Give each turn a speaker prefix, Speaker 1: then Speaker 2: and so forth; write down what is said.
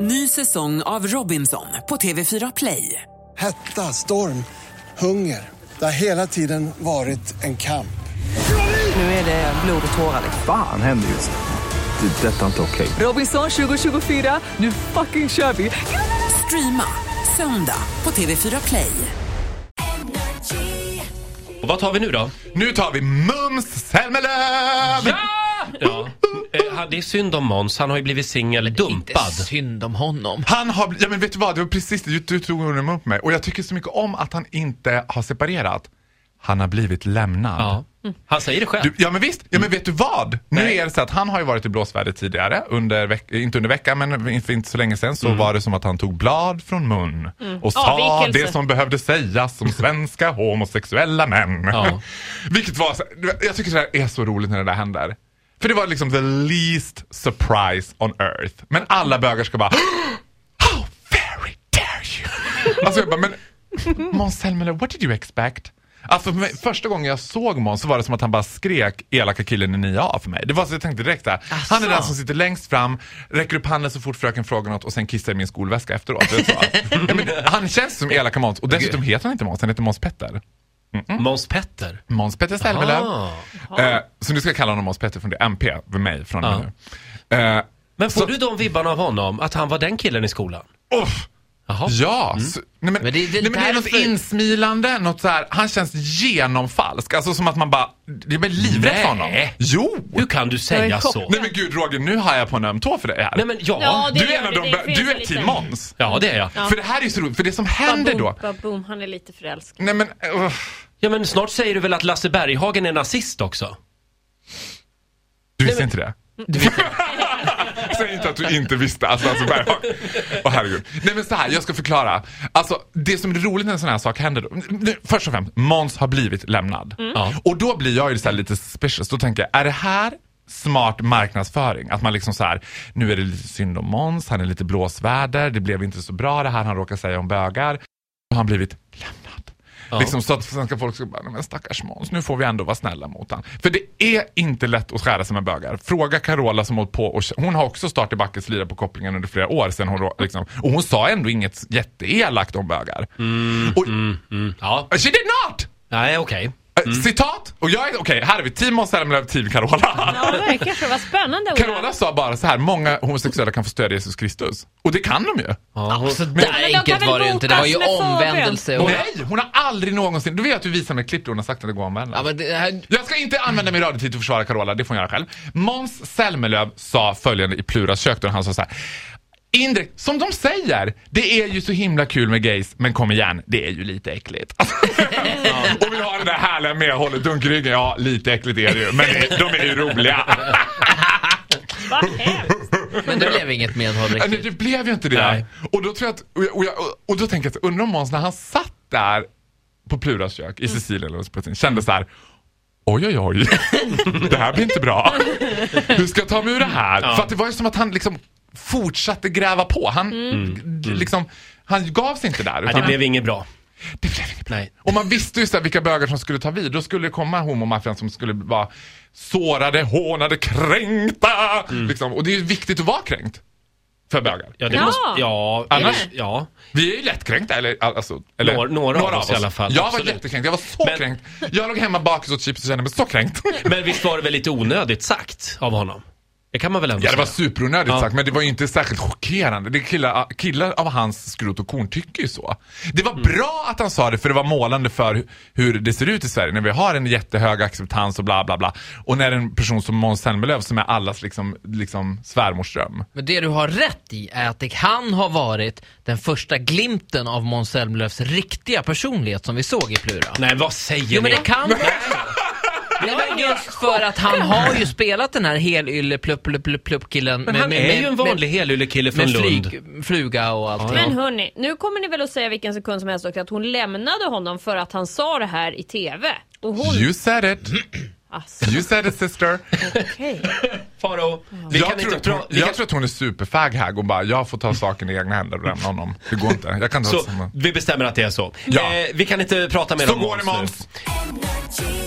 Speaker 1: Ny säsong av Robinson på TV4 Play.
Speaker 2: Hetta, storm, hunger. Det har hela tiden varit en kamp.
Speaker 1: Nu är det blod och tårar.
Speaker 3: Fan händer just nu. Det. är Detta är inte okej.
Speaker 1: Robinson 2024, nu fucking kör vi! Streama söndag på TV4 Play.
Speaker 4: Och vad tar vi nu då?
Speaker 5: Nu tar vi Mums Zelmerlöw!
Speaker 4: Ja. Eh, han- Det är synd om Måns, han har ju blivit singel, dumpad.
Speaker 6: Inte synd om honom.
Speaker 5: Han har, bli- ja men vet du vad, det var precis det, du, du tog honom upp mig och jag tycker så mycket om att han inte har separerat. Han har blivit lämnad.
Speaker 4: Ja. Han säger det själv.
Speaker 5: Du, ja men visst, ja men vet du vad? Nu
Speaker 4: Nej.
Speaker 5: är det så att han har ju varit i blåsväder tidigare, under veck- eh, inte under veckan men för inte så länge sedan så var det som att han tog blad från mun och sa
Speaker 7: Avvikelse.
Speaker 5: det som behövde sägas som svenska homosexuella män.
Speaker 4: Ja.
Speaker 5: Vilket var, så- du vet, jag tycker det här är så roligt när det där händer. För det var liksom the least surprise on earth. Men alla bögar ska bara How very dare you! Alltså jag bara, men Måns Zelmerlöw, what did you expect? Alltså för mig, första gången jag såg Måns så var det som att han bara skrek elaka killen i 9A för mig. Det var så jag tänkte direkt såhär, han är den som sitter längst fram, räcker upp handen så fort fröken frågar något och sen kissar i min skolväska efteråt. Vet du vad? ja, men, han känns som elaka Måns och dessutom heter han inte Måns, han heter Måns Petter.
Speaker 4: Måns Petter.
Speaker 5: Måns Petter Zelmerlöw.
Speaker 4: Ah.
Speaker 5: Eh, så nu ska jag kalla honom Måns Petter från det, MP, för mig från och med nu. Eh,
Speaker 4: Men får
Speaker 5: Så-
Speaker 4: du de vibbarna av honom, att han var den killen i skolan?
Speaker 5: uff.
Speaker 4: Jaha.
Speaker 5: Ja, så, nej, men,
Speaker 6: Men det är väl
Speaker 5: nej, men det är något
Speaker 6: därför-
Speaker 5: insmilande, något så här, han känns genomfalsk. Alltså som att man bara, det blir livrädd för honom.
Speaker 4: Nej.
Speaker 5: Jo!
Speaker 4: Hur kan du
Speaker 7: Jag
Speaker 4: säga
Speaker 7: är chock.
Speaker 4: så?
Speaker 5: Nej men gud Roger, nu har jag på en öm tå för det här.
Speaker 4: Nej men ja.
Speaker 7: Ja, det
Speaker 5: du är
Speaker 7: gör
Speaker 5: en av de,
Speaker 7: det. Det
Speaker 5: bö-
Speaker 7: finns
Speaker 5: du
Speaker 7: en
Speaker 5: är
Speaker 7: liten-
Speaker 5: team Måns.
Speaker 4: Ja, det är jag.
Speaker 5: För det här är ju så roligt, för det som händer då.
Speaker 7: Baboom, baboom, han är lite förälskad.
Speaker 5: Nej men, uh,
Speaker 4: Ja men snart säger du väl att Lasse Berghagen är nazist också?
Speaker 5: du visste inte det? Säg inte att du inte visste. Alltså, alltså Berghagen. Åh herregud. Nej men så här, jag ska förklara. Alltså det som är roligt när en sån här sak händer då. nu, Först och främst, Måns har blivit lämnad.
Speaker 4: Ja.
Speaker 5: Och då blir jag ju så här lite suspicious. Då tänker jag, är det här smart marknadsföring? Att man liksom så här, nu är det lite synd om Måns, han är lite blåsväder, det blev inte så bra det här han råkar säga om bögar. Då har han blivit lämnad. Liksom så att svenska folk ska bara, "Nej, men stackars Måns, nu får vi ändå vara snälla mot han. För det är inte lätt att skära sig med bögar. Fråga Carola som hållit på och hon har också startat i backens lira på kopplingen under flera år sedan hon rå- liksom, och hon sa ändå inget jätteelakt om bögar. och,
Speaker 4: Mm. Ja. Mm.
Speaker 5: She did not!
Speaker 4: Nej okej.
Speaker 5: Eh, Citat! Och jag är, okej, här är vi team Måns Zelmerlöw, team Carola.
Speaker 7: Ja, det verkar så. Vad spännande. Ola.
Speaker 5: Carola sa bara så här, många homosexuella kan få stödja Jesus Kristus. Och det kan de ju.
Speaker 4: Ja, hon...
Speaker 6: Så
Speaker 7: Men-
Speaker 6: där enkelt var det ju inte. Det var ju
Speaker 7: Men de kan väl botas med
Speaker 6: omvändelse. Och,
Speaker 5: Nej, hon har aldrig någonsin, du vet att du visar mig ett klipp där hon har sagt att det går att omvända.
Speaker 6: ja, men det här,
Speaker 5: Jag ska inte använda min radiotid till att försvara Carola, det får hon göra själv. Måns Zelmerlöw sa följande i Pluras kök då han sa så här. Indirekt, som de säger, det är ju så himla kul med gays, men kom igen, det är ju lite äckligt. Och vill ha det där härliga medhållet, dunk i ryggen, ja lite äckligt är det ju, men det- de är ju roliga.
Speaker 7: Vad hemskt.
Speaker 6: men det blev inget medhåll
Speaker 5: Ja, Nej,
Speaker 6: riktigt.
Speaker 5: det blev ju inte det.
Speaker 4: Nej.
Speaker 5: Och då tror jag att, och, jag, och, jag, och då tänker jag att undrar om Måns när han satt där på Pluras kök i Sicilien eller något sånt, kände så här. Oj, oj, oj. Det här blir inte bra. Hur ska jag ta mig ur det här? För att det var ju som att han liksom fortsatte gräva på. Han, d- liksom, han gav sig inte där.
Speaker 4: Nej,
Speaker 5: utan
Speaker 4: det blev inget bra.
Speaker 5: det blev inget bra.
Speaker 4: Nej.
Speaker 5: Och man visste ju så här vilka bögar som skulle ta vid. Då skulle det komma homomaffian som skulle vara sårade, hånade, kränkta.
Speaker 4: Mm.
Speaker 5: Liksom. Och det är ju viktigt att vara kränkt. För bögar.
Speaker 4: Ja, det
Speaker 7: Ja.
Speaker 4: Måste... ja.
Speaker 5: Annars-
Speaker 4: Ja.
Speaker 5: Vi är ju lättkränkta, eller, alltså, eller
Speaker 4: Några- några av oss i alla fall,
Speaker 5: Jag
Speaker 4: absolut.
Speaker 5: var jättekränkt, jag var så
Speaker 4: Men-
Speaker 5: kränkt. Jag låg hemma bakis åt chips och kände mig så kränkt.
Speaker 4: Men visst var det väl lite onödigt sagt av honom? Det kan man väl ändå
Speaker 5: Ja, det var
Speaker 4: säga?
Speaker 5: superonödigt
Speaker 4: Ja.
Speaker 5: sagt, men det var ju inte särskilt chockerande. Det killar, killar av hans skrot och korn tycker ju så. Det
Speaker 4: Mm.
Speaker 5: var bra att han sa det, för det var målande för hu- hur det ser ut i Sverige. När vi har en jättehög acceptans och bla bla bla. Och när en person som Måns Zelmerlöw, som är allas liksom, liksom svärmorsdröm.
Speaker 6: Men det du har rätt i är att det kan ha varit den första glimten av Måns Zelmerlöws riktiga personlighet som vi såg i Plura.
Speaker 4: Nej, vad säger
Speaker 6: Jo men
Speaker 4: ni?
Speaker 6: det kan vara Nej, men just för att han har ju spelat den här helylle plupp plupp plupp plupp killen
Speaker 4: Men han är ju en vanlig helyllekille från
Speaker 6: med
Speaker 4: Lund.
Speaker 6: flyg, fluga och allt.
Speaker 7: Men hörni, nu kommer ni väl att säga vilken sekund som helst också att hon lämnade honom för att han sa det här i TV. Och hon...
Speaker 5: You said it,
Speaker 7: Alltså,
Speaker 5: you said it sister.
Speaker 7: okej.
Speaker 4: Faro, vi
Speaker 5: jag
Speaker 4: kan
Speaker 5: tror,
Speaker 4: inte
Speaker 5: att hon,
Speaker 4: prata...
Speaker 5: jag tror att hon är superfag här och bara, jag får ta saken i egna händer och lämna honom. Det går inte. Jag kan inte
Speaker 4: Så,
Speaker 5: ha samma.
Speaker 4: vi bestämmer att det är så.
Speaker 5: Ja.
Speaker 4: Eh, vi kan inte prata mer
Speaker 5: Så
Speaker 4: om
Speaker 5: går det
Speaker 4: Måns nu.
Speaker 5: Måns!